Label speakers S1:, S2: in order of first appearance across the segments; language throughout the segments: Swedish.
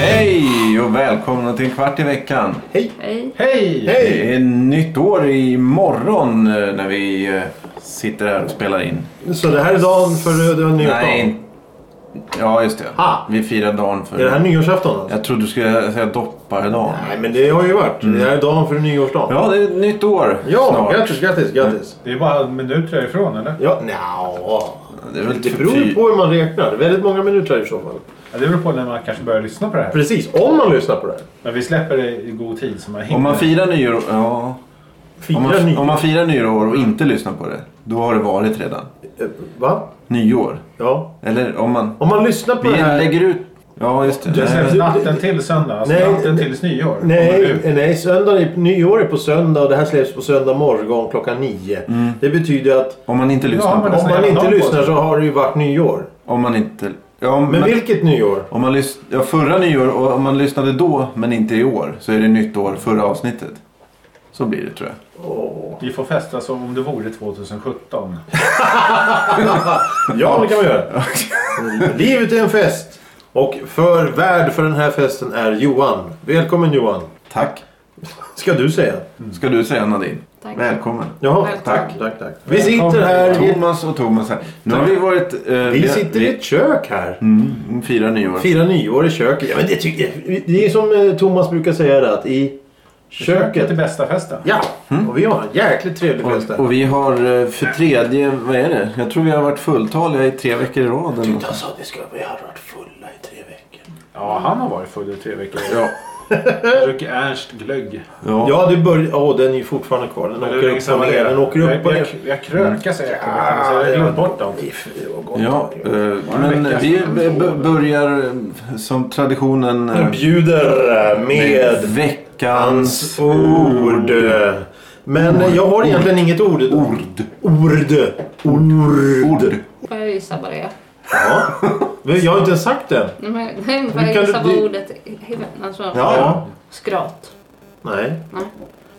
S1: Hej och välkomna till Kvart i veckan.
S2: Hej.
S3: Hej!
S1: Det är nytt år imorgon eh, när vi eh, sitter här och spelar in.
S3: Så det här är dagen för den nya
S1: Nej. Ja, just det.
S3: Ha!
S1: Vi firar dagen
S3: Är det här
S1: för...
S3: nyårsafton? Alltså?
S1: Jag trodde du skulle säga dopparedagen.
S3: Nej, men det har ju varit. Det här är dagen för nyårsdagen.
S1: Ja, det är ett nytt år
S3: Mm. ja
S1: snart.
S3: grattis, grattis, grattis.
S4: Det är bara minuter härifrån eller?
S3: Ja, nja.
S1: Det är väl
S3: Det
S1: typ
S3: beror ju
S1: fy-
S3: på hur man räknar. Väldigt många minuter i så fall.
S4: Ja, det beror på när man kanske börjar lyssna på det här.
S3: Precis, om man lyssnar på det här.
S4: Men vi släpper det i god tid så man hinner.
S1: Om man firar nyår... Ja.
S3: Fyra
S1: Om man,
S3: nyår.
S1: om man firar nyår och inte lyssnar på det, då har det varit redan.
S3: Eh, Va?
S1: Nyår.
S3: Ja.
S1: Eller om man...
S3: Om man lyssnar på
S1: Vi
S3: det här...
S1: lägger ut... Ja, just det.
S4: Det
S1: Nej.
S4: släpps natten till söndag. Alltså
S3: Nej,
S4: natten
S3: nej.
S4: tills nyår. Kommer
S3: Nej,
S4: ut.
S3: eh, nej söndag är, nyår är på söndag och det här släpps på söndag morgon klockan nio. Mm. Det betyder att
S1: Om man inte lyssnar
S4: Ja,
S1: på
S4: men-
S1: det.
S3: om
S4: nästan
S3: man
S4: hela
S3: inte
S4: dagen på
S3: lyssnar
S4: sig.
S3: så har det ju varit nyår.
S1: Om man inte... Ja, om,
S3: Men
S1: man-
S3: vilket nyår?
S1: om man lys... ja, förra nyår, och om man lyssnade då men inte i år, så är det nytt år förra avsnittet. Så blir det tror jag.
S4: Vi får festa som om det vore 2017.
S3: Ja, det kan man göra. Livet är en fest. Och för värd för den här festen är Johan. Välkommen Johan.
S1: Tack.
S3: Ska du säga.
S1: Ska du säga Nadine?
S2: Tack.
S1: Välkommen.
S3: Jaha,
S2: Välkommen.
S3: tack. tack, tack. Vi sitter
S4: Välkommen.
S3: här i ett,
S1: Thomas och Thomas här. Nu har vi varit... eh,
S3: vi
S1: har-
S3: sitter i ett kök här.
S1: Mm, firar nyår.
S3: Firar nyår i köket. Ja, men det, tycker jag- det är som eh, Thomas brukar säga det, att i
S4: Köket är
S3: köket.
S4: bästa festen.
S3: Ja, och vi har en jäkligt trevlig fest
S1: Och,
S3: här.
S1: och vi har eh, för tredje, vad är det? Jag tror vi har varit fulltaliga i tre veckor i rad. eller något.
S3: Han sa att vi, ska, vi har varit fulla i tre veckor.
S4: Ja, han har varit full i tre veckor.
S3: Eh.
S1: Ja.
S4: Druckit Ernst glögg.
S1: Ja.
S3: Ja, det börjar... Åh, den är ju fortfarande kvar. Den åker upp och ner. Den åker upp Mm. och
S4: jag,
S3: ner.
S4: jag, jag krökar så jag kommer
S3: Ah,
S4: ihåg, så Jag har glömt bort dem.
S1: Ja, eh, men
S4: vecka
S1: vi
S4: sedan.
S1: b- b- börjar eh, som traditionen eh,
S3: Jag bjuder eh, med
S1: veckans
S3: hans ord. Men jag har egentligen inget ord.
S1: ord.
S3: Ord. Ord.
S1: Ord.
S2: Får jag gissa vad det är?
S3: Ja. Men Jag har inte ens sagt det.
S2: Nej, men- nej, får
S3: Hur
S2: jag
S3: kan
S2: gissa
S3: du-
S2: vad
S3: du-
S2: ordet är? Alltså,
S3: Ja.
S2: Skrat.
S3: Nej.
S2: Nej.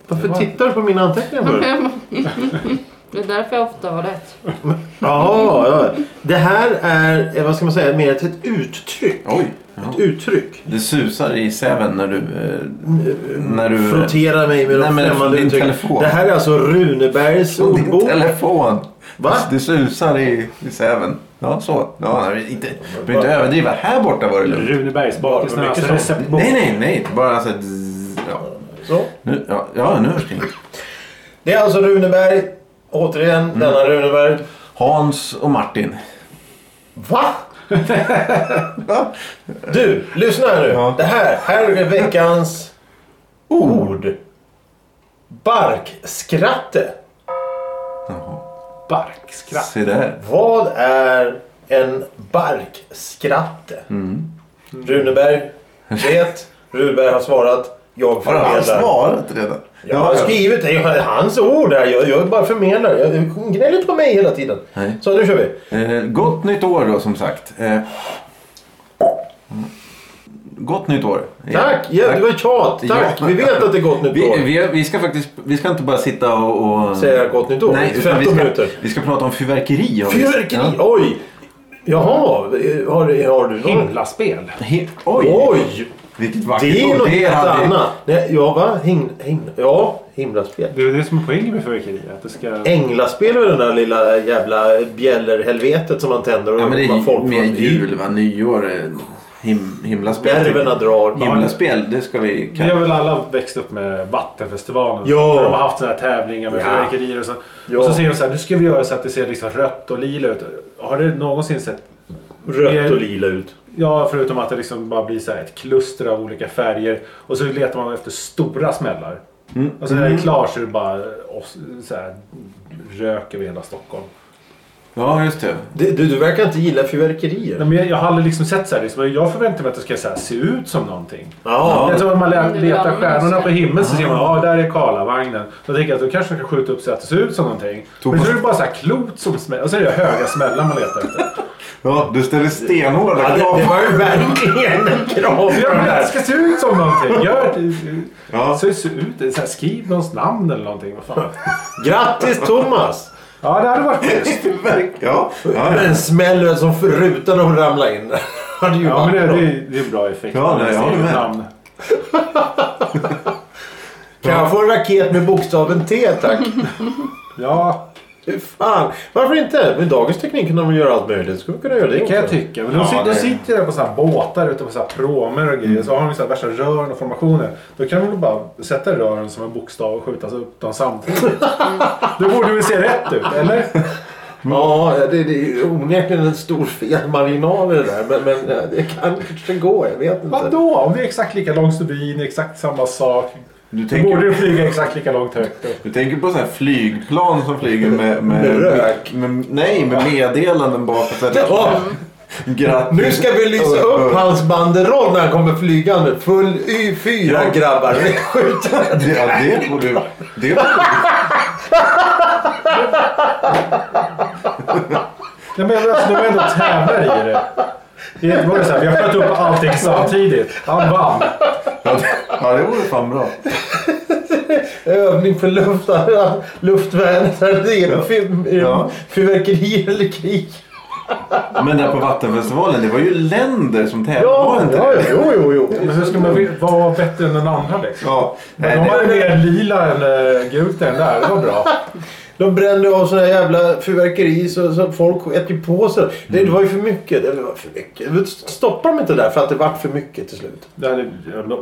S3: Varför tittar du på mina anteckningar för?
S2: Det är därför jag ofta har rätt.
S3: Jaha, ja. Det här är, eh, vad ska man säga, mer ett ett uttryck.
S1: Oj. Ja.
S3: Ett uttryck.
S1: Det susar i säven när du... eh, När du...
S3: Frontera mig med
S1: Nej,
S3: de
S1: men från
S3: främmande
S1: din
S3: uttrycken.
S1: telefon.
S3: Det här är alltså Runebergs
S1: Från din
S3: ordbok.
S1: telefon.
S3: Va?
S1: Det susar i, i säven. Ja, så. Ja, nej, vi inte, vi behöver inte överdriva. Här borta var det lugnt.
S4: Runebergsbakelserna.
S3: Mycket
S4: Alltså
S3: sånt.
S4: receptbok.
S1: Nej, nej, nej. Bara så... här zzz, Ja,
S3: Så.
S1: nu, ja, ja, nu hörs det inget.
S3: Det är alltså Runeberg. Återigen,
S1: Mm.
S3: denna Runeberg.
S1: Hans och Martin.
S3: Va?
S1: Va?
S3: Du, lyssna här nu.
S1: Ja.
S3: Det här, här är veckans ord. Barkskratte.
S4: Barkskratt.
S1: Se där.
S3: Vad är en barkskratte?
S1: Mm.
S3: Runeberg vet. Runeberg har svarat. Jag
S1: Har han
S3: förmedlar.
S1: svarat redan?
S3: Jag har skrivit det. Jag- Hans ord här. Jag, jag bara förmedlar. Jag du gnäller inte på mig hela tiden.
S1: Nej.
S3: Så nu kör vi.
S1: Eh, gott nytt år då som sagt. Eh, mm. gott nytt år. Ja.
S3: Tack! Ja, det var tjat. Tack!
S1: Ja.
S3: Vi vet att det är gott nytt
S1: Vi,
S3: år.
S1: vi, vi ska faktiskt vi ska inte bara sitta och... och
S3: Säga gott nytt år.
S1: Nej, utan vi
S3: 15
S1: ska,
S3: minuter.
S1: vi ska prata om fyrverkeri. har vi-
S3: Fyrverkeri!
S1: Ja.
S3: Oj! Jaha, har, har du någon?
S4: Himlaspel.
S1: He- Oj!
S3: Oj!
S1: Vilket vackert
S3: Det är
S1: ord.
S3: något helt
S1: hade-
S3: annat. Nej, ja, va? Him, him, ja, himlaspel.
S4: Det är det som är poängen med fyrverkeri. Att det ska...
S3: Änglaspel är det där lilla jävla bjällerhelvetet som man tänder och
S1: Ja, men det
S3: man
S1: är mer
S3: man-
S1: jul, va? nyår, eh, him, himlaspel. typ.
S3: Nerverna drar.
S1: Himlaspel, det ska vi...
S4: Vi har väl alla växt upp med Vattenfestivalen.
S3: Ja.
S4: Där De har haft sådana här tävlingar med
S3: Ja.
S4: fyrverkerier och så.
S3: Ja.
S4: Och så säger de så här, nu ska vi göra så att det ser liksom rött och lila ut. Har du någonsin sett?
S3: Rött och lila ut.
S4: Ja, förutom att det liksom bara blir så här ett kluster av olika färger. Och så letar man efter stora smällar.
S3: Mm.
S4: Och så när det är klart så är det bara och, så här, rök över hela Stockholm.
S1: Ja, just det.
S3: Du, du, du verkar inte gilla
S4: Nej,
S3: fyrverkerier.
S4: men jag, jag har aldrig liksom sett så här. Liksom, jag förväntar mig att det ska så här, se ut som någonting.
S3: Ja.
S4: Det är som när man
S2: Men
S4: le-
S2: det är
S4: letar
S2: väl
S4: stjärnorna
S2: allmänt
S4: på himlen så ser man ja där är Karlavagnen. Då tänker jag att då kanske man kan skjuta upp så att det ser ut som någonting. Men så är det bara så här klot som smäller. Och så är det höga smällar man letar efter.
S1: Ja, du ställer stenhårda
S3: Ja,
S1: krav.
S3: det, det var ju verkligen en krav på
S4: Ja,
S3: den
S4: men det
S3: här.
S4: ska se ut som någonting. Gör
S1: Ja.
S4: det. Se, se ut. Så här, skriv någons namn eller någonting. Vad fan.
S3: Grattis Thomas!
S4: Ja, det hade varit schysst.
S1: Ja, ja,
S3: Men
S1: ja.
S3: den smäller det som för rutan och ramlar in. Hade ju
S4: Ja,
S3: varit
S4: men det,
S3: bra.
S4: det, är- det är en bra effekt.
S1: Ja, nej, jag håller med.
S4: Namn.
S3: Kan jag få en raket med bokstaven T tack?
S4: Ja,
S3: Fy fan. Varför inte? Med dagens teknik kan de väl göra allt möjligt. Skulle vi kunna göra det
S4: det kan jag
S3: också?
S4: tycka. Men de,
S1: Ja,
S4: sitter,
S1: det-
S4: de sitter där på så här båtar ute på så här promer och grejer. Så har de så här värsta rören och formationer. Då kan de väl bara sätta rören som en bokstav och skjuta upp dem samtidigt. Då borde vi se rätt ut, eller?
S3: Ja, det, det är ju onekligen en stor fel marginal i det där. Men, men eh, det kan kanske gå. Jag vet inte.
S4: Vadå? Om det är exakt lika lång stubin, exakt samma sak.
S1: Du
S4: Då borde
S1: tänker,
S4: du flyga exakt lika långt högt upp.
S1: du tänker på så här flygplan som flyger med...
S3: Med rök.
S1: Med, nej, med meddelanden bak. Så här,
S3: Ja,
S1: grattis.
S3: nu ska vi lysa upp hans banderoll när han kommer flygande. Full Y4
S1: Ja.
S3: grabbar. Skjut.
S1: Det, ja, det borde... Det borde
S4: Nej, men jag alltså, de var ändå tävlar i det. Det var det så här, jag sköt upp allting samtidigt. Han vann.
S1: ja, det- ja, det vore fan bra.
S3: Övning för luftar, luftvärnet.
S1: Ja.
S3: Ja. Fyrverkerier eller krig.
S1: Men där på Vattenfestivalen, det var ju länder som tävlade. var det inte
S3: ja,
S1: det?
S3: jo, jo, jo.
S4: Men hur ska man veta- vad var bättre än den andra liksom?
S1: Ja, nej,
S4: Men de hade
S1: det,
S4: mer lila än äh, gult än där. Det var bra.
S3: De brände av såna här jävla fyrverkeri så, så folk sket ju på sig. Det, det var ju för mycket. Det var för mycket. Stoppade de inte där för att det var för mycket till slut?
S4: Det hade,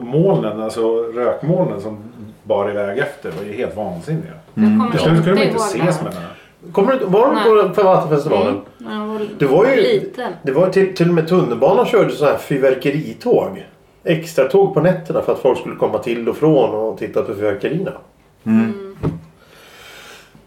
S4: molnen, alltså rökmolnen som bar iväg efter var ju helt vansinniga.
S2: Jag kommer
S4: Till slut kunde de
S2: inte
S4: inte
S2: ihåg det
S4: ses
S2: här.
S4: med varandra.
S3: Kommer du, var
S2: Nej.
S3: du på, på Vattenfestivalen?
S2: Mm, när jag var
S3: Det var ju-
S2: liten.
S3: Det var ju till, till och med tunnelbanan körde sådana här fyrverkeritåg. Extra tåg på nätterna för att folk skulle komma till och från och titta på fyrverkerierna.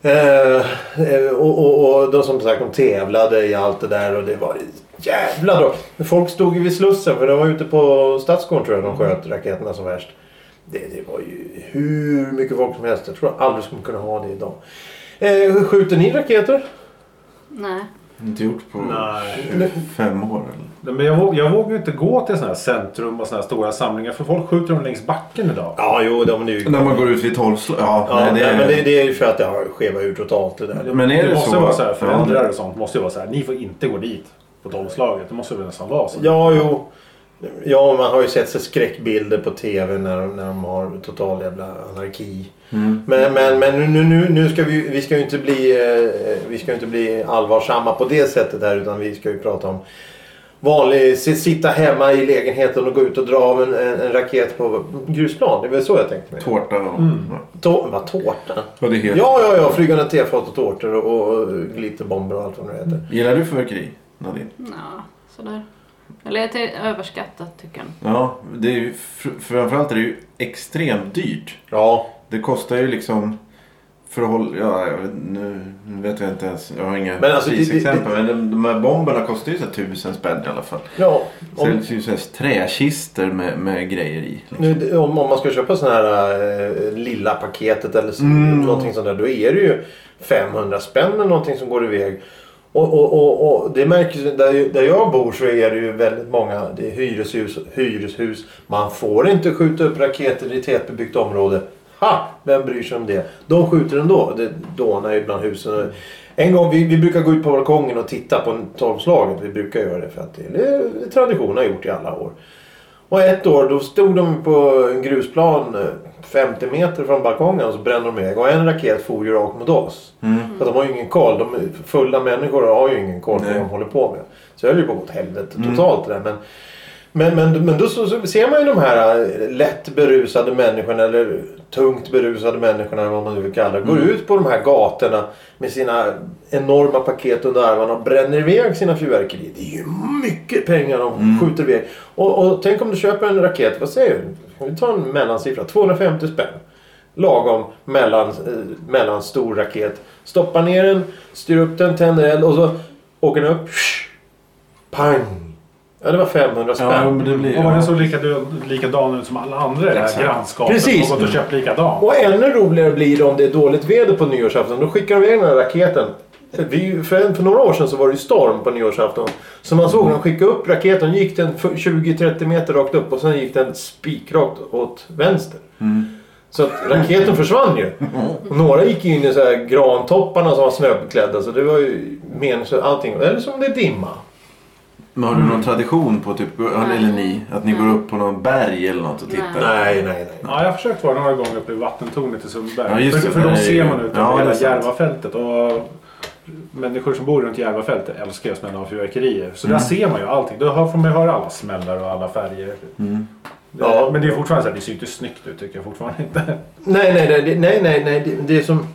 S3: Eh, eh, och, och, och de som sagt de tävlade i allt det där och det var jävla då. Men Folk stod ju vid Slussen för de var ute på Stadsgården tror jag de sköt raketerna som värst. Det, det var ju hur mycket folk som helst. Jag tror jag aldrig skulle kunna ha det idag. Eh, skjuter ni raketer?
S2: Nej.
S1: inte gjort på
S4: Nej.
S1: 25 år. Eller?
S4: Nej, Men jag, våg- jag vågar ju inte gå till sådana här centrum och sådana här stora samlingar för folk skjuter dem längs backen idag.
S3: Ja, jo, de är ju...
S1: När man går ut vid 12 slag. Ja,
S3: Ja,
S1: nej, det,
S3: nej, men det, det är ju för att det har skeva utåt allt det där.
S1: men är
S4: det,
S1: det,
S4: måste
S1: så?
S4: vara så här, föräldrar
S1: Ja,
S4: och sånt måste ju vara så här, ni får inte gå dit på tolvslaget. Det måste väl nästan vara så.
S3: Ja, jo. Ja, man har ju sett så skräckbilder på tv när, de- när de har total jävla anarki.
S1: Mm.
S3: Men, men, men nu- nu, nu, nu ska vi, vi ska ju inte bli, eh, vi ska ju inte bli allvarsamma på det sättet här utan vi ska ju prata om vanlig, si- sitta hemma i lägenheten och gå ut och dra av en, en, en raket på grusplan. Det var så jag tänkte mig.
S1: Tårta och... Ja.
S3: Tå- vad tårta?
S1: Vad det heter.
S3: Mm. Ja, ja, ja. Flygande tefat och tårtor och, och glitterbomber och allt vad det nu heter.
S1: Gillar du fyrverkeri, Nadine?
S2: Nja, sådär. Eller jag tycker- överskattat tycker jag.
S1: Ja, det är ju, fr- framförallt är det ju extremt dyrt.
S3: Ja.
S1: Det kostar ju liksom... Förhåll, ja, jag vet, nu nu vet jag inte ens. Jag har inga
S3: Men alltså, det- det-
S1: prisexempel. Men de, de här bomberna kostar ju så här tusen spänn i alla fall.
S3: Ja,
S1: Så det
S3: om,
S1: är ju så här träkister med, med grejer i. liksom.
S3: nu, om, om man ska köpa sån här eh, lilla paketet eller så,
S1: Mm.
S3: någonting sånt där. Då är det ju 500 spänn eller någonting som går iväg. Och, och, och, och det märks ju- där, ju- där jag bor så är det ju väldigt många det är hyreshus, hyreshus. Man får inte skjuta upp raketer i tätbebyggt område. Ha! Vem bryr sig om det? De skjuter ändå. Det dånar ju bland husen. En gång, vi, vi brukar gå ut på balkongen och titta på tolvslaget. Vi brukar göra det för att det är tradition har gjort i alla år. Och ett år då stod de på en grusplan eh, 50 meter från balkongen och så brände de iväg. Och en raket for ju rakt mot oss. För att de har ju ingen koll. De är fulla människor har ju ingen koll på vad
S1: Nej.
S3: de håller på med. Så jag höll ju på att gå åt helvete totalt det där. Men, men, men, men då så, så ser man ju de här eh, lätt berusade människorna eller tungt berusade människorna eller vad man nu vill kalla det. Går ut på de här gatorna med sina enorma paket under armarna och bränner iväg sina fyrverkerier. Det är ju mycket pengar de skjuter iväg. Och, och tänk om du köper en raket, vad säger du? Vi tar en mellansiffra, 250 spänn. Lagom mellan, eh, mellanstor raket. Stoppar ner den, styr upp den, tänder eld och så åker den upp. Pang! Ja, det var 500 spänn.
S1: Ja, men det blir...
S4: Och var den
S1: Ja.
S4: såg likadan, likadan ut som alla andra i det här
S1: Exakt.
S4: grannskapet.
S3: Precis.
S4: Och gått och köpt likadan.
S3: Och ännu roligare blir det om det är dåligt väder på nyårsafton. Då skickar de iväg den här raketen För, vi, för, en- för några år sedan så var det ju storm på nyårsafton. Så man såg dem skicka upp raketen. gick den f- 20-30 meter rakt upp och sen gick den spikrakt åt vänster. Så att raketen försvann ju. Och några gick in i så här grantopparna som var snöbeklädda. Så det var ju meningslöst allting. Eller som det är dimma.
S1: Men har du någon tradition på typ,
S2: Nej.
S1: eller ni, att ni
S2: Nej.
S1: går upp på någon berg eller något och
S2: Nej.
S1: tittar?
S3: Nej, nej, nej.
S4: Ja, jag har försökt vara några gånger uppe i vattentornet i Sundbyberg.
S1: Ja, just
S4: för
S1: det.
S4: för de
S1: Nej.
S4: ser man ut
S1: Ja, det
S4: över
S1: är
S4: hela
S1: sant.
S4: Järvafältet. Och människor som bor runt Järvafältet älskar ju att smälla av fyrverkerier. Så
S1: Mm.
S4: där ser man ju allting. Då hör- får man ju höra alla smällar och alla färger. Det,
S3: Ja.
S4: Men det är fortfarande så här, det ser ju inte snyggt ut tycker jag fortfarande inte.
S3: Nej, nej, nej. det- Nej, nej, nej. Det, det är som...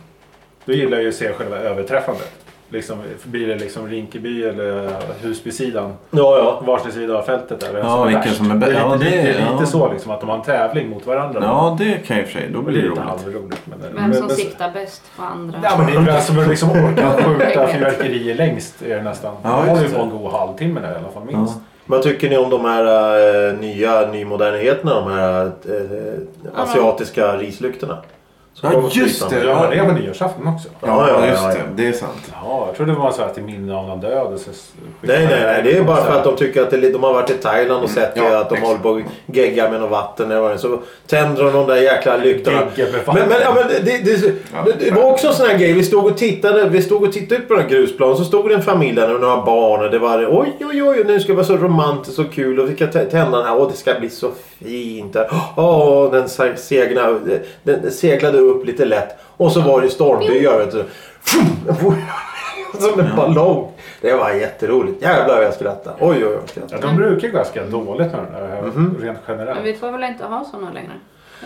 S4: Då gillar jag ju att se själva överträffandet. Liksom, blir det liksom Rinkeby eller Husbysidan?
S3: Ja, ja.
S4: Varsin sida av fältet där. vem
S1: Ja,
S4: är
S1: vilken
S4: värst.
S1: som är bä-
S4: Det är
S1: ja,
S4: lite,
S1: det-
S4: det är lite
S1: ja.
S4: så liksom att de har en tävling mot varandra.
S1: Ja, det kan jag i och för sig. Då
S4: Och
S1: blir
S4: det är
S1: det
S4: lite
S1: roligt.
S4: halvroligt. Men,
S2: Vem som
S4: men,
S2: siktar bäst på andra.
S4: Ja, men det är väl som att liksom orkar skjuta fyrverkerier längst är det nästan.
S1: Ja,
S4: Ja, det håller ju
S1: just
S4: på en
S1: det.
S4: god halvtimme där i alla fall
S1: Ja.
S4: minst.
S3: Vad tycker ni om de här eh, nya nymodernheterna? De här eh, asiatiska rislyktorna? Som
S1: Ja,
S3: kommer att
S1: just
S3: flyta.
S1: det.
S4: Gör man det på nyårsafton också?
S1: Ja,
S3: Ja, ja,
S1: just
S3: ja,
S1: det.
S3: ja.
S1: Det är sant.
S4: Ja, jag trodde det var så här till minne av någon död. och så skickar
S3: Nej, nej, nej. Det är bara
S4: så
S3: för
S4: här.
S3: att de tycker att det, är lite- de har varit i Thailand och sett
S1: Mm. Ja,
S3: att de
S1: exakt.
S3: håller på och geggar med något vatten eller vad det är. Så tänder de de där jäkla lyktorna.
S4: Geggar med vatten.
S3: Men, men, ja, men det, det, det, det, det var också en sån här grej. Vi stod och tittade, vi stod och tittade ut på den här grusplanen. Så stod det en familj där med några barn. Och det var oj, oj, oj. Nu ska det vara så romantiskt och kul. Och vi ska tä- tända den här. Åh, det ska bli så fint. där. Åh, den se- segna, den seglade upp lite lätt. Och så var det stormbyar. Vet du. Som en ballong. Det var jätteroligt. Jävlar vad jag skrattade. Oj, oj, oj. jag
S4: Ja,
S3: skrattade.
S4: de brukar ju ganska dåligt med den där, eh,
S3: Mhm.
S4: rent
S2: Men
S4: generellt.
S2: vi får väl inte ha såna längre?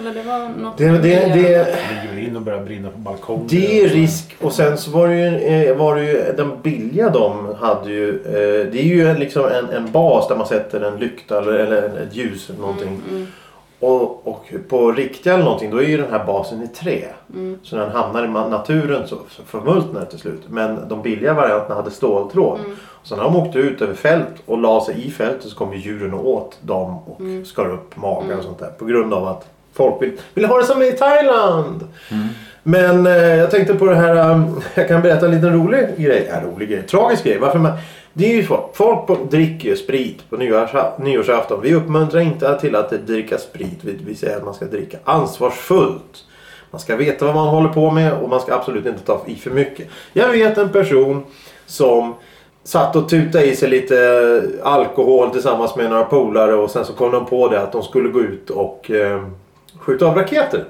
S2: Eller det var något... Mm,
S3: Det, det, det,
S4: Det går in och börjar brinna på balkongen.
S3: det är risk. Och sen så var det ju, eh, var det ju den billiga de hade ju. eh, Det är ju liksom en, en bas där man sätter en lykta eller, eller en- ett ljus eller någonting.
S2: mm.
S3: Och, och på riktiga eller någonting då är ju den här basen i trä. Så när den hamnar i ma- naturen så så förmultnar det till slut. Men de billiga varianterna hade ståltråd. Så när de åkte ut över fält och la sig i fältet så kom ju djuren åt dem och skar upp magar och sånt där. På grund av att folk vill, vill ha det som i Thailand. Men eh, jag tänkte på det här. Um, jag kan berätta en liten rolig grej. Ja, rolig grej. Tragisk grej. Varför man, det är ju så. Folk på, dricker ju sprit på nyårsa- nyårsafton. Vi uppmuntrar inte till att dricka sprit. Vi, vi säger att man ska dricka ansvarsfullt. Man ska veta vad man håller på med och man ska absolut inte ta i för mycket. Jag vet en person som satt och tutade i sig lite eh, alkohol tillsammans med några polare och sen så kom de på det att de skulle gå ut och eh, skjuta av raketer.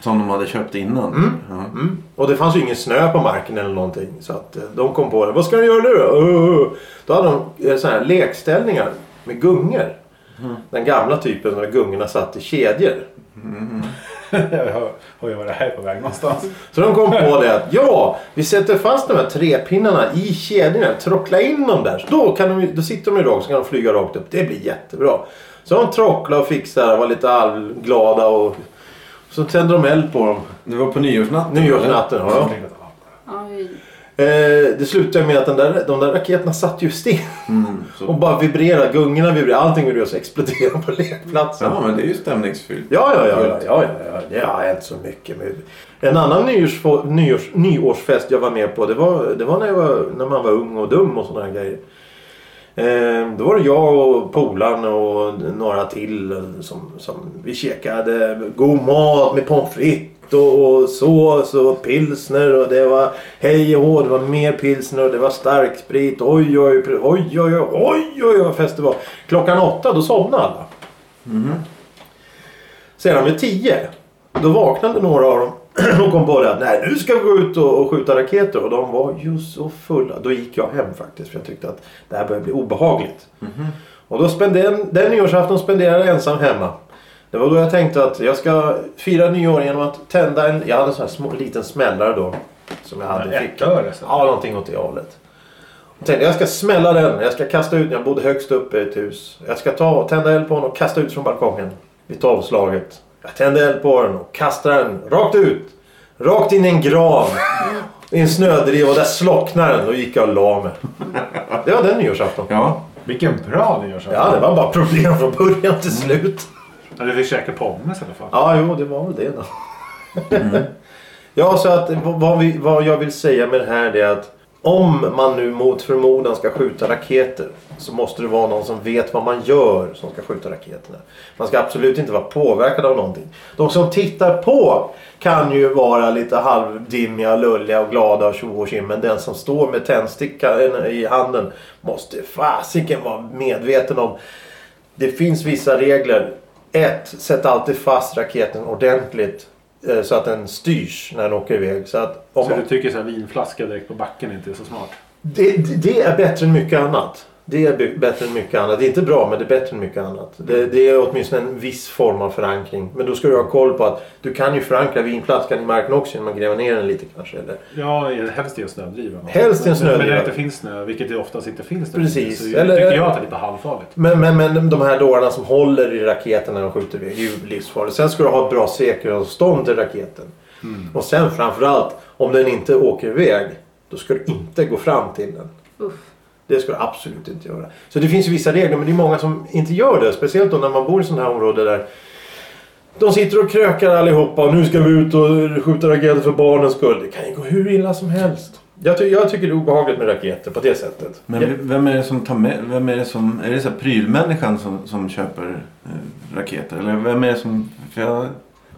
S1: Som de hade köpt innan. Ja.
S3: Mm. Och det fanns ju ingen snö på marken eller någonting. Så att eh, de kom på det. Vad ska de göra nu då? Uh, då hade de eh, såna här lekställningar med gungor. Den gamla typen där gungorna satt i kedjor.
S4: jag hör, hör ju vad det här är på väg någonstans.
S3: Så de kom på det att ja, vi sätter fast de här trepinnarna i kedjorna. Trockla in dem där. Så då, kan de, ju- då sitter de ju rakt så kan de flyga rakt upp. Det blir jättebra. Så de trocklade och fixade och var lite allglada. Och, så tände de eld på dem.
S1: Det var på nyårsnatten.
S3: Nyårsnatten. Ja.
S4: Jag tänkte, "Ah,
S2: Oj.
S3: Eh, det slutade med att den där, de där raketerna satt ju still.
S1: Mm,
S3: Och
S1: så.
S3: bara vibrerade. Gungorna vibrerade. Allting vibrerade och så exploderade på lekplatsen.
S1: Ja, men det är ju stämningsfyllt.
S3: Ja, ja, ja. ja, ja, ja, ja. Det har hänt så mycket. Med. En annan nyårsfo- nyårs, nyårsfest jag var med på. Det var, det var, när, jag var när man var ung och dum och sådana här grejer. Eh, då var det jag och polaren och några till eh, som, som vi käkade god mat med pommes frites och, och sås och pilsner och det var hej och hå, det var mer pilsner och det var starksprit. Oj, oj, oj, oj, oj, oj, oj vad fest det var. Klockan åtta då somnade alla. Sedan vid tio, då vaknade några av dem och kom på det att nej, nu ska vi gå ut och, och skjuta raketer. Och de var ju så fulla. Då gick jag hem faktiskt för jag tyckte att det här började bli obehagligt.
S4: Mhm.
S3: Och då spenderade, den nyårsafton spenderade jag ensam hemma. Det var då jag tänkte att jag ska fira nyår genom att tända en... Jag hade en sån här små, liten smällare då. Som jag hade i
S4: ett
S3: fickan.
S4: öre, så.
S3: Ja, någonting åt det hållet. Jag tänkte jag ska smälla den. Jag ska kasta ut den. Jag bodde högst upp i ett hus. Jag ska ta, tända eld på den och kasta ut från balkongen. Vid tolvslaget. Jag tände eld på den och kastade den rakt ut. Rakt in i en gran. I en snödriva. Och där slocknade den. Då gick jag och la mig. Det var den nyårsafton.
S1: Ja.
S4: Vilken bra nyårsafton.
S3: Ja, det var bara problem från början till slut.
S4: Ja, du fick käka pommes i alla fall.
S3: Ja, jo, det var väl det då. ja, så att v- vad, vi, vad jag vill säga med det här det är att Om man nu mot förmodan ska skjuta raketer så måste det vara någon som vet vad man gör som ska skjuta raketerna. Man ska absolut inte vara påverkad av någonting. De som tittar på kan ju vara lite halvdimmiga, lulliga och glada och tjo och tjim, Men den som står med tändstickan i handen måste fasiken vara medveten om det finns vissa regler. Ett, Sätt alltid fast raketen ordentligt eh, så att den styrs när den åker iväg. Så att om
S4: Så du tycker så här vinflaska direkt på backen inte är så smart?
S3: det, det är bättre än mycket annat. Det är by- bättre än mycket annat. Det är inte bra men det är bättre än mycket annat.
S4: Mm.
S3: Det, det är åtminstone en viss form av förankring. Men då ska du ha koll på att du kan ju förankra vinflaskan i marken också genom att gräva ner den lite kanske. Eller?
S4: Ja, helst i en snödriva.
S3: Helst i en snödriva.
S4: Men när det inte finns snö, vilket det oftast inte finns. där,
S3: Precis.
S4: Så
S3: Eller-
S4: tycker jag att det är lite halvfarligt.
S3: Men, men, men de här dårarna som håller i raketen när de skjuter iväg är ju livsfarliga. Sen ska du ha ett bra säkerhetsavstånd till raketen.
S1: Mm.
S3: Och sen framförallt, om den inte åker iväg, då ska du inte gå fram till den.
S2: Uff.
S3: Det ska du absolut inte göra. Så det finns ju vissa regler men det är många som inte gör det. Speciellt då när man bor i sådana här områden där de sitter och krökar allihopa och nu ska vi ut och skjuta raketer för barnens skull. Det kan ju gå hur illa som helst. Jag, ty- jag tycker det är obehagligt med raketer på det sättet.
S1: Men
S3: Ja.
S1: v- vem är det som tar med... Vem är det som... Är det så här prylmänniskan som, som köper eh, raketer? Eller vem är det som... För jag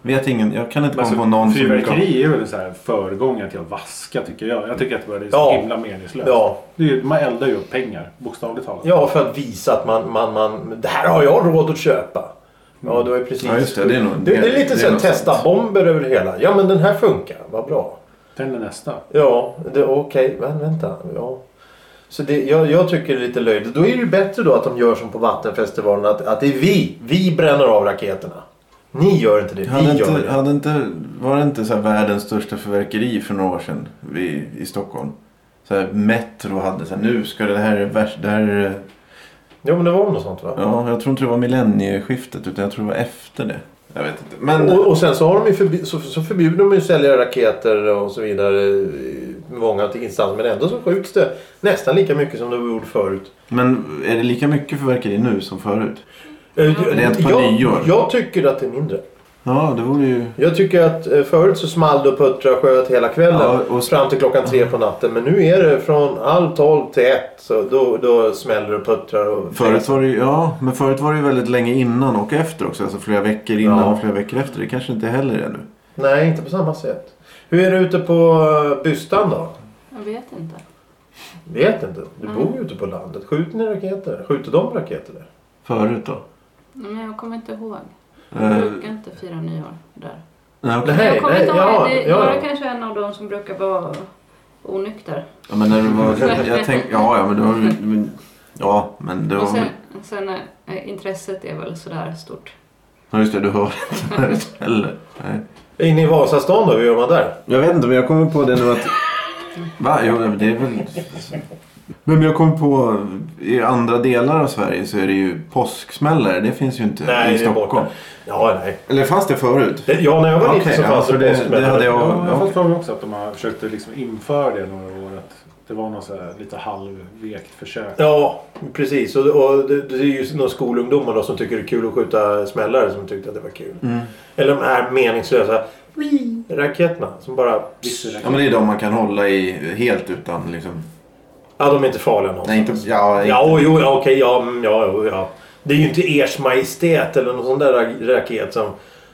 S1: vet ingen. Jag kan inte komma på någon som...
S4: Alltså, fyrverkeri är väl en så här föregångare till att vaska tycker jag. Jag tycker att det är så
S3: Ja.
S4: himla meningslöst.
S3: Ja,
S4: Det är ju, man eldar ju upp pengar, bokstavligt talat.
S3: ja, för att visa att man, man, man... Det här har jag råd att köpa. Ja, då är precis...
S1: Ja, just det. Det är nog...
S3: Det, det är lite så här
S1: nog
S3: testa
S1: sant.
S3: bomber över hela. Ja, men den här funkar. Vad bra.
S4: Tänder nästa.
S3: Ja, det- okej, men vänta. Ja. Så det, jag, jag tycker det är lite löjligt. Då är det ju bättre då att de gör som på Vattenfestivalen. Att, att det är vi. Vi bränner av raketerna. Ni gör inte det. Vi
S1: Hade
S3: gör
S1: inte,
S3: det.
S1: hade inte, var det inte så här världens största förverkeri för några år sedan vid, i Stockholm? Så här Metro hade så här, nu ska det här är värst, det här är,
S3: Jo, men det var väl något sånt va?
S1: ja, jag tror inte det var millennieskiftet utan jag tror det var efter det. Jag vet inte. Men,
S3: Och, och sen så, har de ju förbi, så, så förbjuder de ju att sälja raketer och så vidare. i Många instanser. Men ändå så skjuts det nästan lika mycket som det gjorde förut.
S1: men är det lika mycket förverkeri nu som förut? Rent på nyår.
S3: jag, jag tycker att det är mindre.
S1: Ja, det vore ju...
S3: Jag tycker att eh, förut så small det och puttrade och sköt hela kvällen.
S1: Ja, och-
S3: Fram till klockan tre på natten. Men nu är det från halv tolv till ett. Så då, då smäller det och puttrar. Och
S1: Förut var det ju, ja, men förut var det ju väldigt länge innan och efter också. Alltså flera veckor innan
S3: Ja.
S1: och flera veckor efter. Det kanske inte heller är nu.
S3: Nej, inte på samma sätt. Hur är det ute på eh, Bystan då?
S2: Jag vet inte.
S3: Vet inte. Du
S2: Mm.
S3: bor ju ute på landet. Skjuter ni raketer? Skjuter de raketer där?
S1: Förut då?
S2: Men jag kommer inte ihåg. Jag
S3: Mm.
S1: Eh,
S2: brukar inte fira nyår där.
S1: nej, okej.
S3: Nej,
S2: jag kommer
S3: nej,
S2: inte ihåg.
S3: ja,
S2: det,
S3: ja,
S2: jag
S3: ja.
S2: kanske är en av de som brukar vara onykter.
S1: Ja men när du var... Jag tänk, ja, ja men det var men, Ja men det var
S2: Och sen, sen är, är intresset är väl sådär stort.
S1: Ja just det, du hör inte förut heller. Nej.
S3: Inne i Vasastan då? Hur gör man där?
S1: Jag vet inte men jag kommer på det nu att... Va? Jo det är väl... Men jag kom på i andra delar av Sverige så är det ju påsksmällare. Det finns ju inte
S3: Nej,
S1: i
S3: det är borta.
S1: Stockholm.
S3: Ja, nej.
S1: Eller fanns det förut?
S3: Det- Ja, när jag var liten
S1: Okej,
S3: så
S1: ja,
S3: fanns
S1: för
S3: det
S1: det-
S3: påskmällare.
S1: det hade jag-
S4: Ja, jag har
S1: ja.
S4: fått för mig också att de har försökt liksom införa det några år. Att det var något så här lite halvvekt försök.
S3: Ja, precis. Och, och det, det är ju några skolungdomar då som tycker det är kul att skjuta smällare som tyckte att det var kul. Eller de här meningslösa raketerna som bara...
S1: Ja men det är de man kan hålla i helt utan liksom...
S3: Ja, de är inte farliga någonstans.
S1: Nej inte... Ja,
S3: Ja, oj, oj, ja, okej, ja, mm, ja, jo, ja. Det är ju inte Ers Majestät eller någon sån där ra- raket som...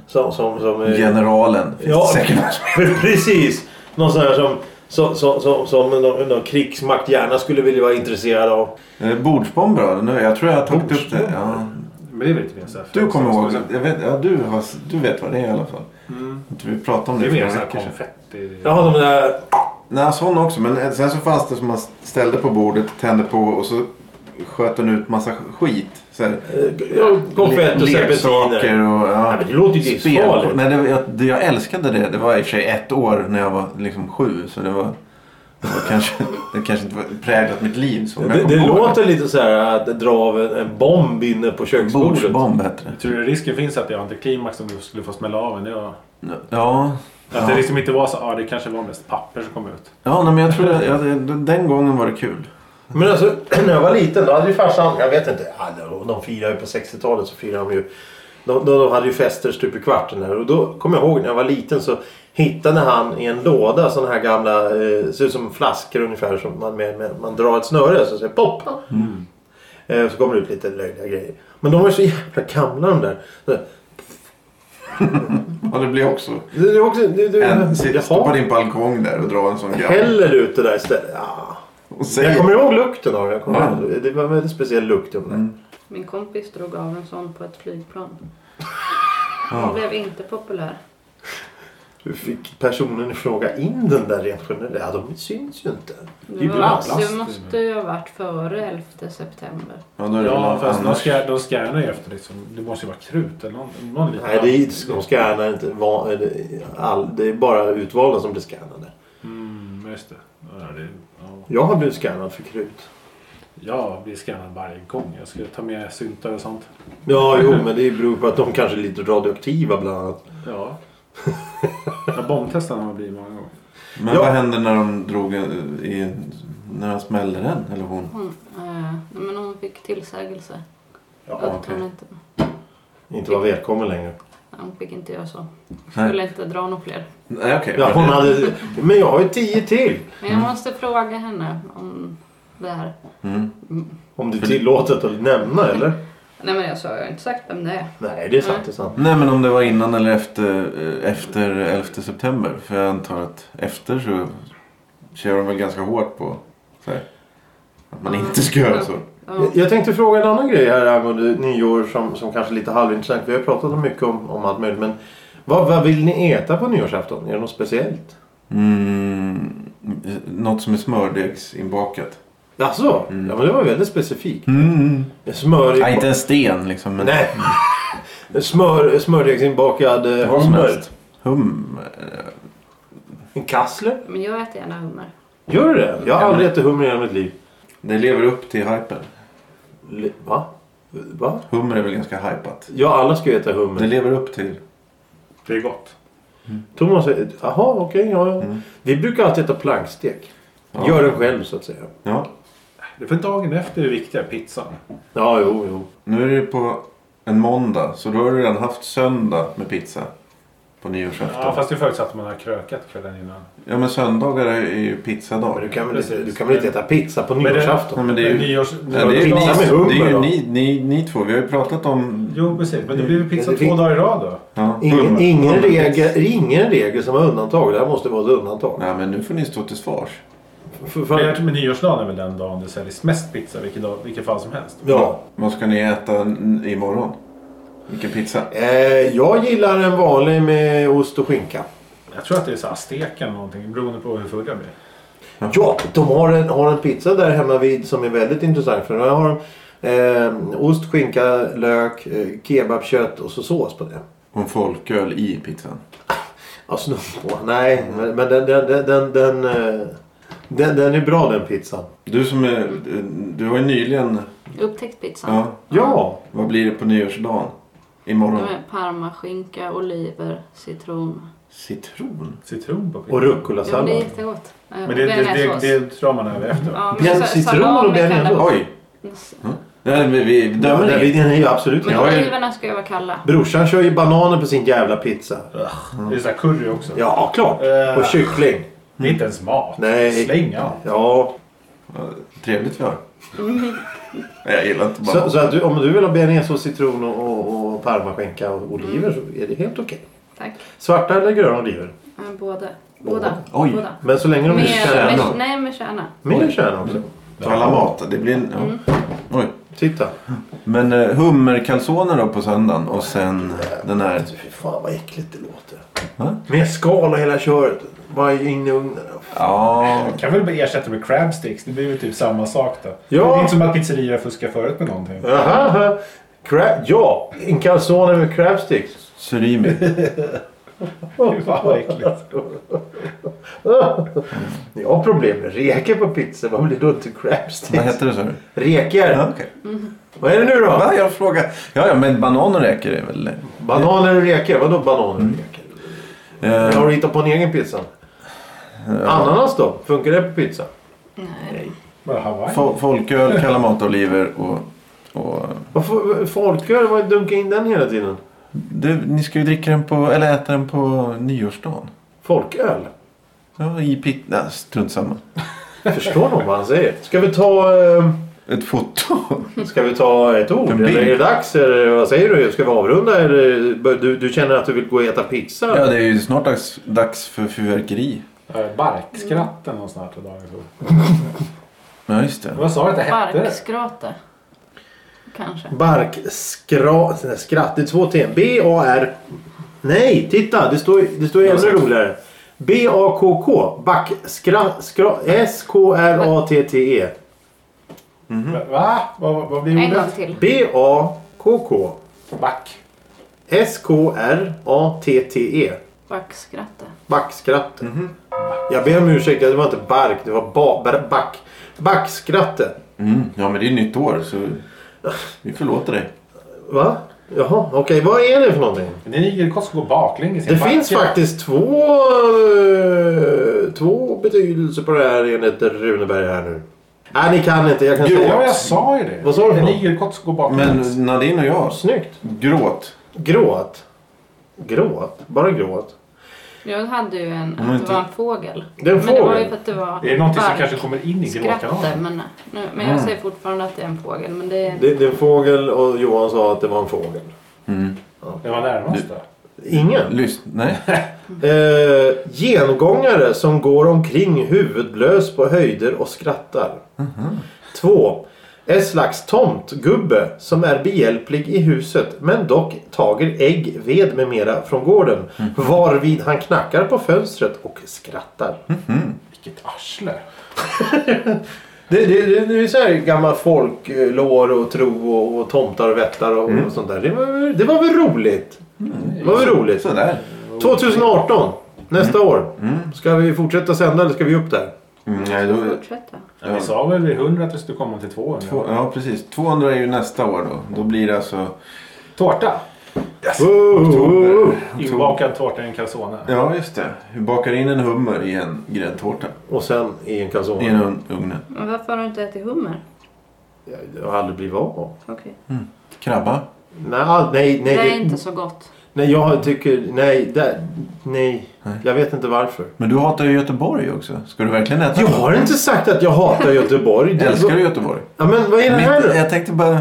S3: som, som, som eh,
S1: generalen. Finns
S3: Ja.
S1: det säkert någon som-
S3: Precis! Någon sån här som... Som, som, som, som någon, någon krigsmakt gärna skulle vilja vara intresserad av.
S1: Eh, Bordsbomber då? Nu, Jag tror jag har tagit upp det. Ja.
S4: Men det är väl lite mer så här
S1: Du kommer ihåg?
S4: det?
S1: Jag vet, ja, du, har, du vet vad det är i alla fall.
S4: Mm.
S1: Jag tror Vi pratade om det
S4: Det är
S1: för
S4: mer
S1: några
S4: så här
S1: veckor sedan.
S4: konfetti.
S3: Ja, de där...
S1: Nej, sån också. Men sen så fanns det som man ställde på bordet, tände på och så sköt den ut massa skit. Så här,
S3: eh, ja, Konfett och serpentiner.
S1: leksaker och... Ja,
S3: Ja, men det låter ju livsfarligt.
S1: Nej, det, jag, det, jag älskade det. Det var i och för sig ett år när jag var liksom sju. Så det var... Det, var kanske, det kanske inte var präglat mitt liv så. men jag
S3: Det,
S1: kommer
S3: det
S1: ihåg
S3: låter lite så här att dra av en, en bomb inne på köksbordet.
S1: Bordsbomb hette det.
S4: Tror du risken finns att det är antiklimax om du skulle få smälla av en? Det var...
S1: Ja.
S4: Att det liksom inte var så, ja det kanske var mest papper som kom ut.
S1: Ja, nej, men jag tror det, jag, den gången var det kul.
S3: Men alltså när jag var liten då hade ju farsan, jag vet inte, ja, de- de firade ju på 60-talet så firade de ju. De, de, de hade ju fester stup i kvarten här och då kommer jag ihåg när jag var liten så hittade han i en låda sådana här gamla, eh, ser ut som flaskor ungefär som man, med, med, man drar ett snöre så säger pop. Eh, så kommer det ut lite löjliga grejer. Men de var ju så jävla gamla de där. Så,
S1: Ja, det blir också.
S3: Det, det, är också, det, det,
S1: En, sitt, stå på
S3: jaha,
S1: din balkong där och dra en sån gammal.
S3: häller ut det där istället. Ja.
S1: Och
S3: Jag
S1: säg,
S3: kommer ihåg lukten av det. Jag kommer
S1: Ja.
S3: ihåg, det var en väldigt speciell lukt. i de där.
S2: Min kompis drog av en sån på ett flygplan.
S1: Ja.
S2: Hon blev inte populär.
S3: Hur fick personen i fråga in den där rent generellt? Ja, de syns ju inte.
S2: Det
S3: är ju
S2: var,
S3: bland
S2: så
S3: plast.
S2: det måste ju ha varit före 11 september.
S1: ja, då är det
S4: Ja,
S1: väl
S4: fast de,
S1: annars.
S4: ska, de scannar ju efter liksom. Det måste ju vara krut eller någon, någon liten...
S3: Nej, det är, de scannar inte. va- det- All, det är bara utvalda som blir skannade.
S4: Mm, just det. Ja, det ja.
S3: Jag har blivit skannad för krut.
S4: Jag blir skannad varje gång. Jag ska ta med syntar och sånt.
S3: Ja, jo, men det beror på att de kanske är lite radioaktiva bland annat.
S4: Ja. Jag bombtestade när man blir många gånger.
S1: Men
S3: Ja.
S1: vad hände när de drog en- i, när han smällde den? Eller hon?
S2: Hon, eh, nej, men hon fick tillsägelse.
S3: Ja,
S2: att hon, inte,
S3: inte var välkommen längre.
S2: hon fick inte göra så.
S1: Nej,
S2: Skulle inte dra några fler.
S1: Nej, okej.
S3: Ja, hon hade, men jag har ju tio till.
S2: Men jag måste fråga henne om det här.
S1: Mm.
S3: Om det är tillåtet att nämna, eller?
S2: Nej men jag sa, jag har inte sagt vem det är.
S3: Nej, det är sant. Det är sant.
S1: Nej, men om det var innan eller efter, eh, efter 11 september. För jag antar att efter så kör de väl ganska hårt på så här, att man inte ska göra så.
S2: Ja.
S3: Jag- Jag tänkte fråga en annan grej här angående nyår som, som kanske är lite halvintressant. Vi har pratat om mycket om, om allt möjligt. Men vad, vad vill ni äta på nyårsafton? Är det något speciellt?
S1: Mm, eh, något som är smördegsinbakat.
S3: Jaså? Ja, men det var väldigt specifikt.
S1: Mm.
S3: Smör
S1: Nej, inte en sten liksom. Men
S3: Nej. Smör, smördegsinbakad eh,
S1: vad som
S3: hummer.
S1: helst. Hum.
S3: En kassler?
S2: Men jag äter gärna hummer.
S3: Gör du det? Jag har
S1: Ja,
S3: aldrig ätit hummer i hela mitt liv.
S1: Det lever upp till hypen.
S3: Le- Va? Va?
S1: Hummer är väl ganska hypat.
S3: Ja, alla ska ju äta hummer.
S1: Det lever upp till.
S4: Det är gott.
S3: Thomas säger, jaha okej, ja, ja. Vi brukar alltid äta plankstek.
S1: Mm. Ja.
S3: Gör den själv så att säga.
S1: Ja.
S4: Det är för dagen efter det viktiga, pizzan.
S3: Ja, jo, jo.
S1: Nu är det på en måndag. Så då har du redan haft söndag med pizza. På nyårsafton.
S4: Ja, fast det förutsatt att man har krökat kvällen innan.
S1: Ja, men söndagar är är ju
S3: Men du
S1: pizzadag.
S3: kan väl inte,
S4: Precis.
S3: du kan väl inte äta pizza på nyårsafton?
S1: Nej, men det är
S4: Men
S1: ju...
S4: nyårs...
S1: Ja, det är ju, ni,
S3: Pizza med hummer
S1: det är ju
S3: då?
S1: ni, ni, ni två. Vi har ju pratat om...
S4: Jo, precis. Men det blir ju pizza
S3: Det-
S4: två dagar i rad då.
S1: Ja,
S3: Ingen,
S1: hummer.
S3: ingen,
S1: Hummerpizza.
S3: regel, ingen regel som har undantag. Det här måste vara ett undantag.
S1: Nej, men nu får ni stå till svars.
S3: För,
S4: Men jag
S3: för,
S4: tror med nyårsdagen är väl den dagen det säljs mest pizza, vilken, dag, vilken fall som helst.
S3: ja.
S1: Vad ska ni äta n- imorgon? Vilken pizza?
S3: Eh, jag gillar en vanlig med ost och skinka.
S4: Jag tror att det är så här azteken eller någonting, beroende på hur full jag blir.
S3: Ja, de har en, har en pizza där hemma vid som är väldigt intressant. För där har de eh, ost, skinka, lök, eh, kebabkött och så sås på det.
S1: Och en folköl i pizzan.
S3: Ja, snudd på. Nej, men, men den, den, den, den, den, eh, den, den är bra den pizzan.
S1: Du som är... Du har ju nyligen...
S2: Upptäckt pizzan.
S1: Ja.
S3: Ja,
S1: Vad blir det på nyårsdagen? Imorgon?
S2: Med parmaskinka, oliver, citron.
S1: Citron?
S4: Citron på pizza.
S3: och
S2: Ja, men det är
S3: rucolasallad.
S2: jättegott. Eh,
S4: Men det, det, det,
S2: bearnaisesås.
S4: det drar man över efter.
S2: Ja, men
S3: Bjälv
S2: sa-
S3: citron och
S2: salami
S3: bearnaisesås.
S2: kan det-
S1: Oj! Nej, vi, vi
S3: Ja,
S1: dömer
S3: den
S1: inget.
S3: är ju absolut
S2: Men
S1: Jag är-
S2: oliverna ska ju vara kalla.
S3: Brorsan kör ju bananer på sin jävla pizza.
S4: Det är så här curry också.
S3: Ja, klart.
S4: Eh.
S3: Och kyckling.
S4: Det är inte ens mat.
S3: Nej.
S4: Släng av.
S3: Ja.
S1: Ja, Trevligt vi har. Nej, Jag gillar inte bara...
S3: Så, så att du, om du vill ha bearnaisesås, citron och, och, och parmaskinka och oliver så är det helt okej.
S2: Tack.
S3: Svarta eller gröna oliver.
S2: Eh, Båda. Båda.
S1: Oj.
S2: Båda.
S3: Men så länge de
S2: Med,
S3: är
S1: kärna.
S2: med,
S3: kärna.
S2: nej, med kärna.
S3: Mer kärna också.
S1: Tala mat. Det blir en... Ja.
S3: Mm.
S1: Oj.
S3: Titta.
S1: Men eh, hummerkalsoner då på söndagen och sen eh, den här...
S3: Alltså, fy fan vad äckligt det låter.
S1: Va?
S3: Med skal och hela köret. Bara in i ugnen.
S1: Ja,
S4: Man kan väl bara ersätta med crab sticks. Det blir väl typ samma sak då.
S3: Ja.
S4: Det är inte som att pizzerior fuskar förut med någonting.
S3: Aha, aha. Crab, ja, en calzone med crab sticks.
S1: surimi.
S4: Fy fan vad äckligt.
S3: Jag har problem med reker på pizza. Vad blir då inte crab
S1: Vad
S3: sticks?
S1: heter det sa du?
S3: Reker.
S1: Ja, okej.
S3: Mm. Vad är det nu då?
S1: Va? Jag frågar. Ja, ja, men bananer räcker det väl?
S3: Bananer och reker? Vadå bananer
S1: Mm.
S3: och reker?
S1: Eh,
S3: Har du hittat på en egen pizza? Ananas då? Funkar det på pizza?
S2: Nej.
S4: Bara Hawaii.
S1: fo- folköl, kalamataoliver och... och
S3: Varför, folköl, vad dunkar in den hela tiden?
S1: du, ni ska ju dricka den på... Eller äta den på nyårsdagen.
S3: Folköl.
S1: Ja, I pitt... Nej, strunt samma.
S3: Förstår nog vad han säger. Ska vi ta... eh,
S1: Ett foto.
S3: Ska vi ta ett ord?
S1: En
S3: Eller
S1: bild.
S3: är det dags? Eller vad säger du? Ska vi avrunda? Eller bör- du, du känner att du vill gå och äta pizza?
S1: Ja, det är ju snart dags, dags för fyrverkeri.
S4: Eh, Barkskratten och snart till dagens ord.
S1: Ja, just det.
S4: Vad sa du att det hette?
S2: Barkskrata. Kanske.
S3: Barkskratt. nej, Skratt. Det är två T. B-A-R... Nej, titta! Det står, det står ju ännu roligare. B-A-K-K. Backskratt. skra- S-K-R-A-T-T-E.
S4: Va? Va? Vad, vad blir
S2: En gång
S4: ordet?
S2: till.
S3: B-A-K-K.
S4: Back.
S3: S-K-R-A-T-T-E.
S2: Barkskratta.
S3: Backskratte. Jag ber om ursäkt, det var inte bark, det var ba, bar, back. Backskratte.
S1: Mm. Ja, men det är nytt år så vi förlåter dig.
S3: Va? Jaha, okej. Vad är det för någonting?
S4: Det ligger kort gå baklänges. i
S3: Det
S4: en
S3: finns
S4: backe.
S3: faktiskt två, eh, två betydelser på det här enligt Runeberg här nu. Nej, ni kan inte. Jag kan
S4: Jo,
S3: säga.
S4: jag sa ju det.
S3: Vad sa du för
S4: En
S3: något?
S4: igelkott går baklänges.
S1: Men Nadine och jag,
S3: Snyggt.
S1: gråt.
S3: Gråt. Gråt? Bara gråt?
S2: Jag hade ju en,
S1: Men
S2: att det
S1: inte-
S2: var en fågel.
S3: Det är en
S2: men det var
S3: fågel.
S2: ju för att det var
S4: Det är någonting som
S2: bark-
S4: kanske kommer in i
S2: skratta,
S4: gråkanalen.
S2: men, nu, men jag säger fortfarande att det är en fågel. Men det är...
S3: Det, det är en fågel och Johan sa att det var en fågel.
S4: Det var närmast då.
S3: Ingen.
S1: Lyssna. Nej.
S3: Eh, gengångare som går omkring huvudlös på höjder och skrattar. Två. En slags tomtgubbe som är behjälplig i huset men dock tager ägg, ved med mera från gården. Varvid han knackar på fönstret och skrattar.
S4: Vilket arsle.
S3: Det, det, det, det är så här gammal folklår och tro och, och tomtar och vättar och, och sånt där. Det var, det var väl roligt? Det var väl roligt?
S1: Sådär.
S3: 2018, nästa år. Ska vi fortsätta sända eller ska vi upp där?
S1: Mm, nej, då,
S2: Fortsätta.
S4: Ja. Vi sa väl vid 100 att vi skulle komma till 200.
S1: två, ja, precis. 200 är ju nästa år då. Då blir det alltså...
S4: Tårta.
S1: Oktober.
S4: Inbakad tårta i en calzone.
S1: Ja, just det. Vi bakar in en hummer i en gräddtårta.
S3: Och sen i en
S1: I
S3: calzone.
S1: en un- ugnen.
S2: Men varför har du inte ätit hummer?
S3: Jag- Jag har aldrig blivit av. med.
S2: Okej.
S1: Krabba.
S3: Nej, all- nej, nej.
S2: Det är
S3: det-
S2: inte så gott.
S3: Nej, jag tycker... Nej, där, nej. Jag vet inte varför.
S1: Men du hatar ju Göteborg också. Ska du verkligen äta?
S3: Jag har inte sagt att jag hatar Göteborg. Det-
S1: Älskar du Göteborg?
S3: Ja, men vad är det här
S1: Mitt-
S3: då?
S1: jag tänkte bara...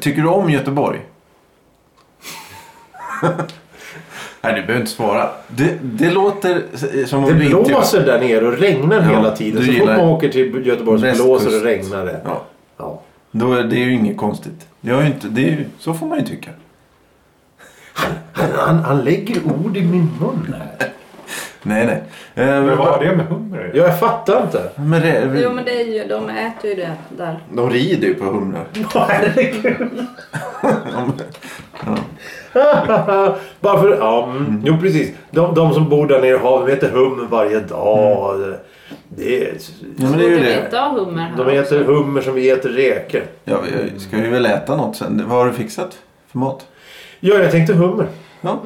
S1: Tycker du om Göteborg? Nej, du behöver inte svara. Det, det låter s- som om
S3: Det
S1: du inte...
S3: blåser där nere och regnar
S1: Ja,
S3: hela tiden.
S1: du
S3: Så fort
S1: gillar
S3: man åker till Göteborg så blåser
S1: västkust.
S3: och regnar det.
S1: Ja,
S3: Ja.
S1: då är det ju inget konstigt. Det har ju inte, det är ju, så får man ju tycka.
S3: Han, han, han lägger ord i min mun. här.
S1: Nej, nej. Eh,
S4: Men vad har det med hummer att göra?
S3: Jag fattar inte.
S1: Men det,
S2: Jo men det är ju, de äter ju det där.
S1: De rider ju på humrar.
S3: Bara för, ja, mm. Jo precis. De, de som bor där nere har, de äter hummer varje dag. Det, är-
S1: Ja, men det är ju
S2: Borde vi
S1: det.
S2: inte ha hummer här
S3: de äter hummer som vi äter räkor.
S1: Ja, vi ska vi väl äta något sen? Vad har du fixat för mat?
S3: Ja, jag tänkte hummer.
S1: Ja,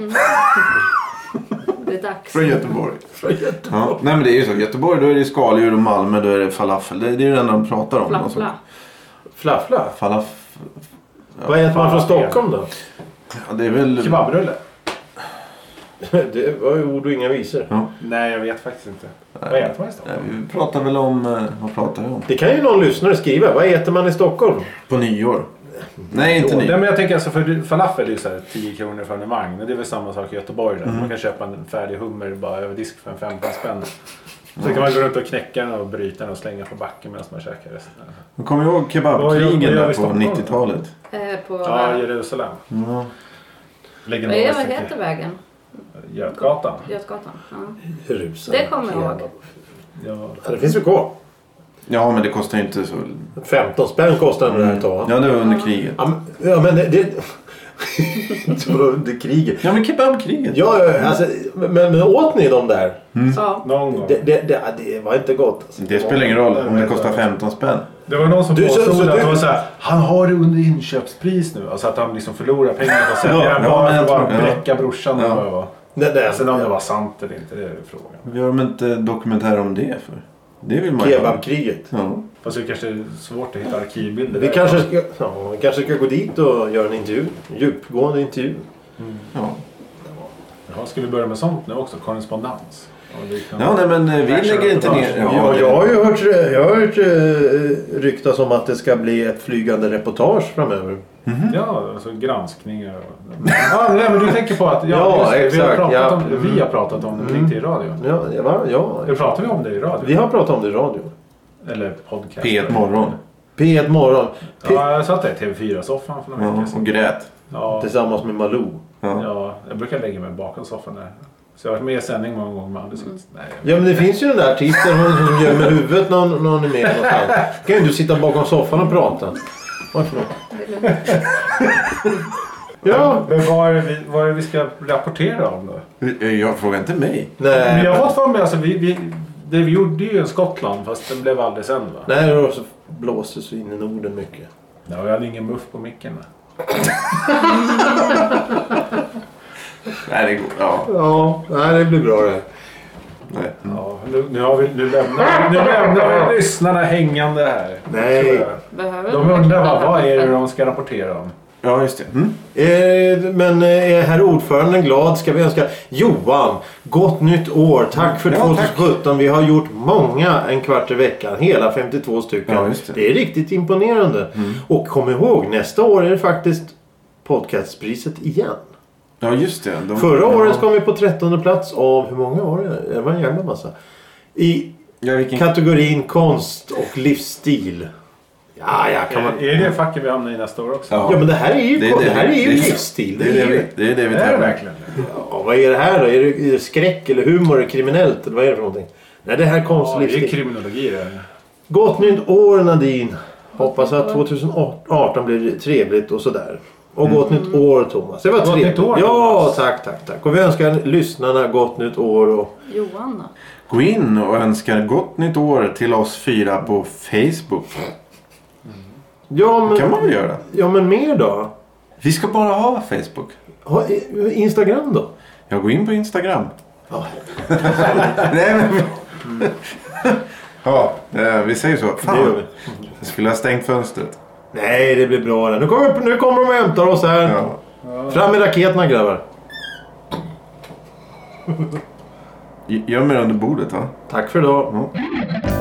S2: Det är dags.
S1: från Göteborg. Ja. Nej men det är ju så. Göteborg då är det skaldjur och Malmö då är det falafel. Det, det är ju det enda de pratar om. Alltså,
S2: Flaffla.
S3: Flaffla.
S1: Falafel.
S3: Vad äter man från
S4: fan,
S3: Stockholm då?
S1: Ja, det är väl...
S4: Kebabrulle?
S3: Det var ju ord och inga visor.
S4: Nej, jag vet faktiskt inte. Vad äter man i Stockholm?
S1: Nej, vi pratar väl om... eh, Vad pratar vi om?
S3: Det kan ju någon lyssnare skriva. Vad äter man i Stockholm?
S1: På nyår. Nej, inte
S4: Nej,
S1: nyår.
S4: men jag tänker alltså för falafel är ju så här 10 kronor för en vagn. Det är väl samma sak i Göteborg. Där.
S1: Mm.
S4: Man kan köpa en färdig hummer bara över disk för en 15 spänn. Så kan man gå runt och knäcka den och bryta den och slänga på backen medan man käkar resten.
S1: Men Kommer du ihåg
S4: Vad gör vi
S1: kebabkrigen
S4: i
S1: där på
S4: Stockholm?
S1: 90-talet?
S2: Eh, på...
S4: Ja,
S2: Vad
S4: Jerusalem.
S1: Ja.
S2: är-
S4: Legendariskt.
S2: vad heter vägen?
S4: Götgatan.
S2: Götgatan? Ja.
S3: Jerusalem.
S2: Det kommer jag ihåg.
S4: Ja.
S3: Ja, det finns ju kvar.
S1: ja, men det kostar ju inte så...
S3: 15 spänn kostar det här ett
S1: Mm.
S3: tag.
S1: Ja, det var under kriget.
S3: Ja, men- Ja, men det... det... det var under kriget.
S1: Ja, men kebabkriget.
S3: Ja, ja, alltså, men, men åt ni dem där?
S2: Ja.
S4: Någon gång.
S3: Det,
S4: Det,
S3: det, det, det var inte gott. Alltså.
S1: Det spelar ingen roll om det kostar 15 spänn.
S4: var någon som
S3: Du, så-
S4: påstod
S3: så
S4: att
S3: du-
S4: det var så här, han har det under inköpspris nu. Alltså att han liksom förlorar pengar på att sälja
S1: Ja,
S4: den
S1: ja,
S4: bara
S1: men
S4: för
S1: jag
S4: att bara
S1: tror- ja.
S4: bräcka brorsan.
S1: Ja.
S4: eller vad det var.
S3: Nej, nej,
S4: Sen om det var sant eller inte, det är frågan.
S1: Gör de inte dokumentär om det för? Det vill man ju ha.
S3: Kebabkriget.
S1: Ja.
S4: Fast det kanske är svårt att hitta arkivbilder.
S3: Vi
S4: där.
S3: kanske, ska, ja, vi kanske ska gå dit och göra en intervju. En djupgående intervju.
S1: ja.
S4: Jaha, ska vi börja med sånt nu också? Korrespondens? Och liknande.
S1: Ja, nej men eh, vi lägger inte ner...
S3: Ja,
S1: det-
S3: jag har ju hört, jag har hört eh, ryktas om att det ska bli ett flygande reportage framöver.
S4: Ja, alltså granskningar och... Ja, nej, men du tänker på att... Ja,
S3: Ja,
S4: just det, vi, har
S3: exakt,
S4: pratat
S3: ja. Mm.
S4: om, vi har pratat om det, men inte i radio.
S3: Ja, ja, va? ja.
S4: Eller pratar vi om det i radio?
S3: Vi har pratat om det i radio.
S4: Eller podcast?
S1: P1 morgon.
S3: P1 Morgon P-
S4: Ja, jag satt där i TV4-soffan för några
S1: Ja,
S4: veckor
S1: och
S4: sedan.
S1: grät.
S4: Ja,
S3: tillsammans med Malou.
S1: Ja.
S4: ja, jag brukar lägga mig bakom soffan där. Så jag har varit med i sändning många gånger
S3: Mm.
S4: med Anders. Nej,
S3: Ja men det finns ju den där artisten hon som gömmer huvudet när hon, när hon är med någonstans. Kan ju du sitta bakom soffan och prata. Varför då? Ja.
S4: Men vad är, det vi, vad är det vi ska rapportera om då?
S1: Eh, Jag frågar inte mig.
S4: Men
S3: Nej.
S4: jag har fått för mig, alltså, vi, vi, det vi gjorde ju en Skottland fast den blev aldrig sänd va?
S3: Nej, och så blåser så in i Norden mycket.
S4: Ja, jag hade ingen muff på micken. va?
S1: Nej, det går... Ja.
S3: Ja, nej det blir bra det.
S1: Nej.
S4: Ja, nu, nu, har vi, nu lämnar vi, nu lämnar vi lyssnarna hängande här.
S3: Nej.
S4: tror jag.
S2: Behöver
S4: De
S2: inte
S4: undrar
S2: vara
S4: bara, vad är det
S2: perfekt.
S4: de ska rapportera om?
S1: Ja, just det. Mm.
S3: Eh, men eh, är herr ordföranden glad ska vi önska Johan gott nytt år. Tack för
S1: Ja, tack.
S3: 2017. Vi har gjort många en kvart i veckan. Hela 52 stycken.
S1: Ja, just det. Mm.
S3: är riktigt imponerande. Och kom ihåg nästa år är det faktiskt podcastpriset igen.
S1: Ja, just det. De-
S3: Förra
S1: ja.
S3: året kom vi på 13 plats av hur många var det? Det var en jävla massa. I
S1: Ja, vilken...
S3: kategorin konst och livsstil. Ja, ja, kan man...
S4: Är det facket vi hamnar i nästa år också?
S1: Ja.
S3: Ja men det här är ju, det
S1: är
S3: här är
S1: vi-
S3: ju livsstil.
S1: Det är det vi, det är det vi
S4: Är det
S1: tävlar
S4: verkligen
S3: Ja, vad är det här då? Är det, är det skräck eller humor? Är det kriminellt? Eller vad är det för någonting? Nej, det här är konst
S4: Ja,
S3: och
S4: det är ju
S3: livsstil.
S4: kriminologi det.
S3: Gott nytt år Nadine! Hoppas att 2018 blir trevligt och sådär. Och gott nytt år Thomas. Det var
S4: Gott
S3: trevligt.
S4: nytt år,
S3: ja,
S4: Thomas.
S3: tack, tack, tack. Och vi önskar lyssnarna gott nytt år. Och...
S2: Johan då?
S1: Gå in och önskar gott nytt år till oss fyra på Facebook.
S3: Ja,
S1: Det kan
S3: men,
S1: man väl göra?
S3: ja, men mer då?
S1: Vi ska bara ha Facebook.
S3: Ha, i- Instagram då?
S1: Jag går in på Instagram.
S3: Ja.
S1: Nej, men... ja, eh, vi säger så.
S3: Det gör vi.
S1: Fan, jag skulle ha stängt fönstret.
S3: Nej, det blir bra det. Nu kommer, nu kommer de och hämtar oss här.
S1: Ja.
S3: Fram med raketerna grabbar.
S1: Gö- Göm er under bordet, va?
S3: Tack för idag.
S1: Ja.